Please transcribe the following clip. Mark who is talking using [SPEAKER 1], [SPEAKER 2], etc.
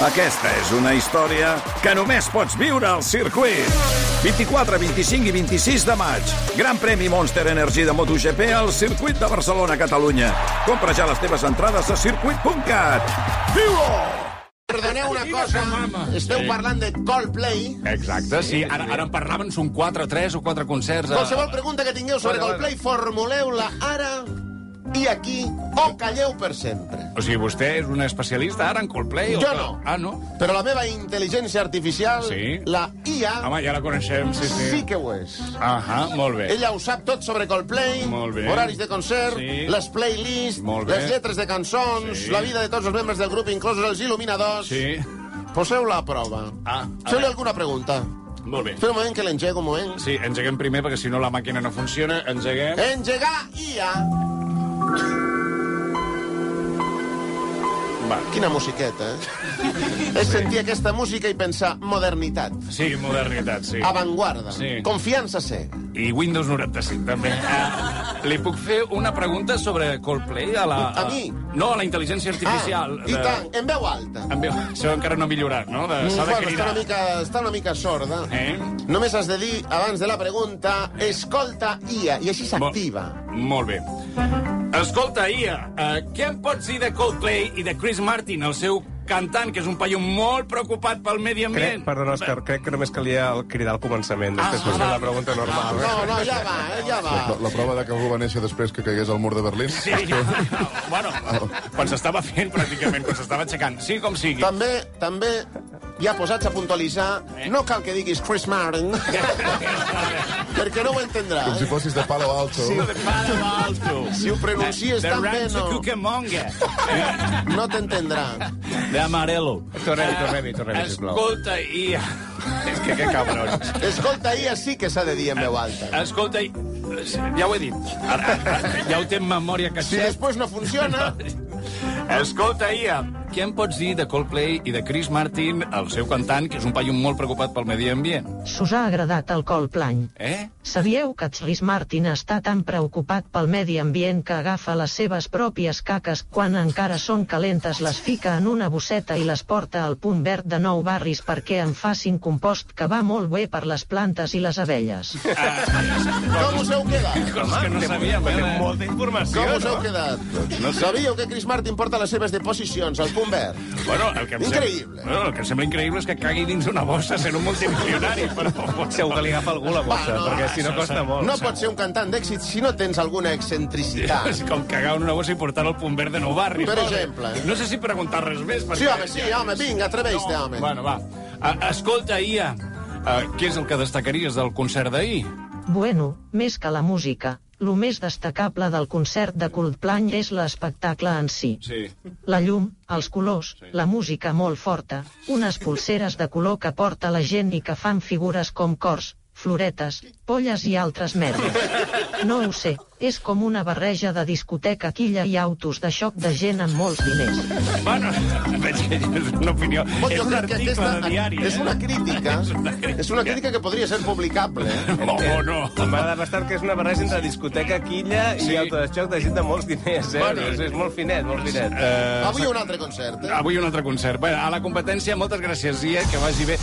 [SPEAKER 1] Aquesta és una història que només pots viure al circuit. 24, 25 i 26 de maig. Gran premi Monster Energy de MotoGP al circuit de Barcelona, Catalunya. Compra ja les teves entrades a circuit.cat. Viu-ho!
[SPEAKER 2] Perdoneu una cosa, esteu parlant de Coldplay.
[SPEAKER 3] Ah. Exacte, sí. Ara, ara en parlaven, són 4, 3 o 4 concerts.
[SPEAKER 2] Qualsevol pregunta que tingueu sobre Coldplay, formuleu-la ara i aquí, o calleu per sempre.
[SPEAKER 3] O sigui, vostè és un especialista ara en Coldplay? o
[SPEAKER 2] Jo
[SPEAKER 3] què?
[SPEAKER 2] no.
[SPEAKER 3] Ah, no?
[SPEAKER 2] Però la meva intel·ligència artificial,
[SPEAKER 3] Sí.
[SPEAKER 2] la IA,
[SPEAKER 3] Home, ja la coneixem, sí, sí.
[SPEAKER 2] sí que ho és.
[SPEAKER 3] Ahà, molt bé.
[SPEAKER 2] Ella ho sap tot sobre Coldplay,
[SPEAKER 3] Molt bé.
[SPEAKER 2] horaris de concert,
[SPEAKER 3] Sí.
[SPEAKER 2] les playlists,
[SPEAKER 3] Molt bé.
[SPEAKER 2] les lletres de cançons,
[SPEAKER 3] Sí.
[SPEAKER 2] la vida de tots els membres del grup, inclosos els il·luminadors.
[SPEAKER 3] Sí.
[SPEAKER 2] Poseu-la a prova.
[SPEAKER 3] Ah, a
[SPEAKER 2] Feu-li
[SPEAKER 3] veure.
[SPEAKER 2] alguna pregunta.
[SPEAKER 3] Molt bé.
[SPEAKER 2] Espera un moment que l'engego, un moment.
[SPEAKER 3] Sí, engeguem primer, perquè si no la màquina no funciona.
[SPEAKER 2] Eh?
[SPEAKER 3] Engeguem.
[SPEAKER 2] Engegar IA.
[SPEAKER 3] Va.
[SPEAKER 2] Quina musiqueta, eh? És sentir aquesta música i pensar modernitat,
[SPEAKER 3] Sí, modernitat, sí.
[SPEAKER 2] Ah, avantguarda,
[SPEAKER 3] Sí.
[SPEAKER 2] confiança cega.
[SPEAKER 3] I Windows 95, també. Ah, li puc fer una pregunta sobre Coldplay? A, la,
[SPEAKER 2] A mi? Ah,
[SPEAKER 3] No, a la intel·ligència artificial. Eh,
[SPEAKER 2] i tant, en veu alta. Mm,
[SPEAKER 3] Em veu- Això encara no ha millorat, no? De- S'ha de
[SPEAKER 2] Bueno, està
[SPEAKER 3] cridar.
[SPEAKER 2] una mica, està una mica sorda.
[SPEAKER 3] Eh?
[SPEAKER 2] Només has de dir, abans de la pregunta, escolta IA, i així s'activa.
[SPEAKER 3] Molt bé. Escolta, Ia, eh, què em pots dir de Coldplay i de Chris Martin, el seu cantant, que és un paio molt preocupat pel medi ambient?
[SPEAKER 4] Crec, perdona, Òscar, crec que només calia el cridar al començament. Després
[SPEAKER 3] Ah,
[SPEAKER 4] ah, fer
[SPEAKER 3] va.
[SPEAKER 4] la pregunta normal.
[SPEAKER 2] No, no, ja va, eh, ja va.
[SPEAKER 5] La, la prova de que algú va néixer després que caigués al mur de Berlín?
[SPEAKER 3] Ah, Sí, ja, bueno, quan s'estava fent, pràcticament, quan s'estava aixecant. Sí, com sigui.
[SPEAKER 2] També, també, ja posats a puntualitzar,
[SPEAKER 3] Eh.
[SPEAKER 2] no cal que diguis Chris Martin, perquè no ho entendrà.
[SPEAKER 5] Com si
[SPEAKER 2] Eh?
[SPEAKER 5] fossis de Palo Alto. Sí.
[SPEAKER 3] Para l'alto.
[SPEAKER 2] Si ho pronuncies
[SPEAKER 3] The
[SPEAKER 2] tan bé,
[SPEAKER 3] Rancho
[SPEAKER 2] no,
[SPEAKER 3] Cucamonga.
[SPEAKER 2] no t'entendrà.
[SPEAKER 3] De Amarelo.
[SPEAKER 4] Tornem-hi, tornem-hi, tornem-hi, sisplau.
[SPEAKER 3] Escolta, Ia... És que que cabrons.
[SPEAKER 2] Escolta, IA sí que s'ha de dir en veu alta.
[SPEAKER 3] Escolta, i- ja ho he dit. Ara, ara, ja ho té en memòria,
[SPEAKER 2] Si
[SPEAKER 3] Cachet.
[SPEAKER 2] després no funciona,
[SPEAKER 3] Escolta, Ia, què em pots dir de Coldplay i de Chris Martin, el seu cantant, que és un paio molt preocupat pel medi ambient?
[SPEAKER 6] S'us ha agradat el Coldplay.
[SPEAKER 3] Eh?
[SPEAKER 6] Sabíeu que Chris Martin està tan preocupat pel medi ambient que agafa les seves pròpies caques quan encara són calentes les fica en una bosseta i les porta al punt verd de nou barris perquè en facin compost que va molt bé per les plantes i les abelles.
[SPEAKER 2] com us heu quedat?
[SPEAKER 3] Coses que no sabíem, eh?
[SPEAKER 4] Molta informació.
[SPEAKER 2] Com us heu quedat?
[SPEAKER 3] Doncs
[SPEAKER 2] Sabíeu que Chris Martin porta les seves deposicions al punt verd?
[SPEAKER 3] Bueno, el que em
[SPEAKER 2] Increïble.
[SPEAKER 3] Sembla, bueno, el que em sembla increïble és que cagui dins una bossa sent un multimilionari, però...
[SPEAKER 4] Segur que li agafa algú la bossa,
[SPEAKER 2] Va, Ah, no,
[SPEAKER 4] perquè si no costa molt.
[SPEAKER 2] No pots ser un cantant d'èxit si no tens alguna
[SPEAKER 3] És
[SPEAKER 2] excentricitat.
[SPEAKER 3] com cagar en una bossa i portar al punt verd de nou barri.
[SPEAKER 2] Per exemple.
[SPEAKER 3] No sé si preguntar res més, perquè...
[SPEAKER 2] Sí, home, sí, home, vinga, atreveix-te, home.
[SPEAKER 3] Bueno, va. Uh, escolta, Ia, uh, què és el que destacaries del concert d'ahir?
[SPEAKER 6] Bueno, més que la música, lo més destacable del concert de Coldplay és l'espectacle en si.
[SPEAKER 3] Sí.
[SPEAKER 6] La llum, els colors, la música molt forta, unes pulseres de color que porta la gent i que fan figures com cors, floretes, polles i altres merdes. No ho sé, és com una barreja de discoteca, quilla i autos de xoc de gent amb molts diners.
[SPEAKER 3] Bueno, veig que és una opinió.
[SPEAKER 2] Bon,
[SPEAKER 3] és
[SPEAKER 2] jo
[SPEAKER 3] un
[SPEAKER 2] crec que
[SPEAKER 3] article
[SPEAKER 2] aquesta
[SPEAKER 3] de diari, eh?
[SPEAKER 2] és una crítica. És una crítica que podria ser publicable. eh?
[SPEAKER 3] Eh? Oh, oh, no.
[SPEAKER 4] M'agrada bastant que és una barreja entre discoteca, quilla
[SPEAKER 3] Sí.
[SPEAKER 4] i auto de xoc de gent de molts diners, eh?
[SPEAKER 3] Bueno,
[SPEAKER 4] Bueno, és, és molt finet, molt finet.
[SPEAKER 2] Avui un altre concert, eh?
[SPEAKER 3] Avui un altre concert. Bé, a la competència, moltes gràcies, Ia, que vagi bé.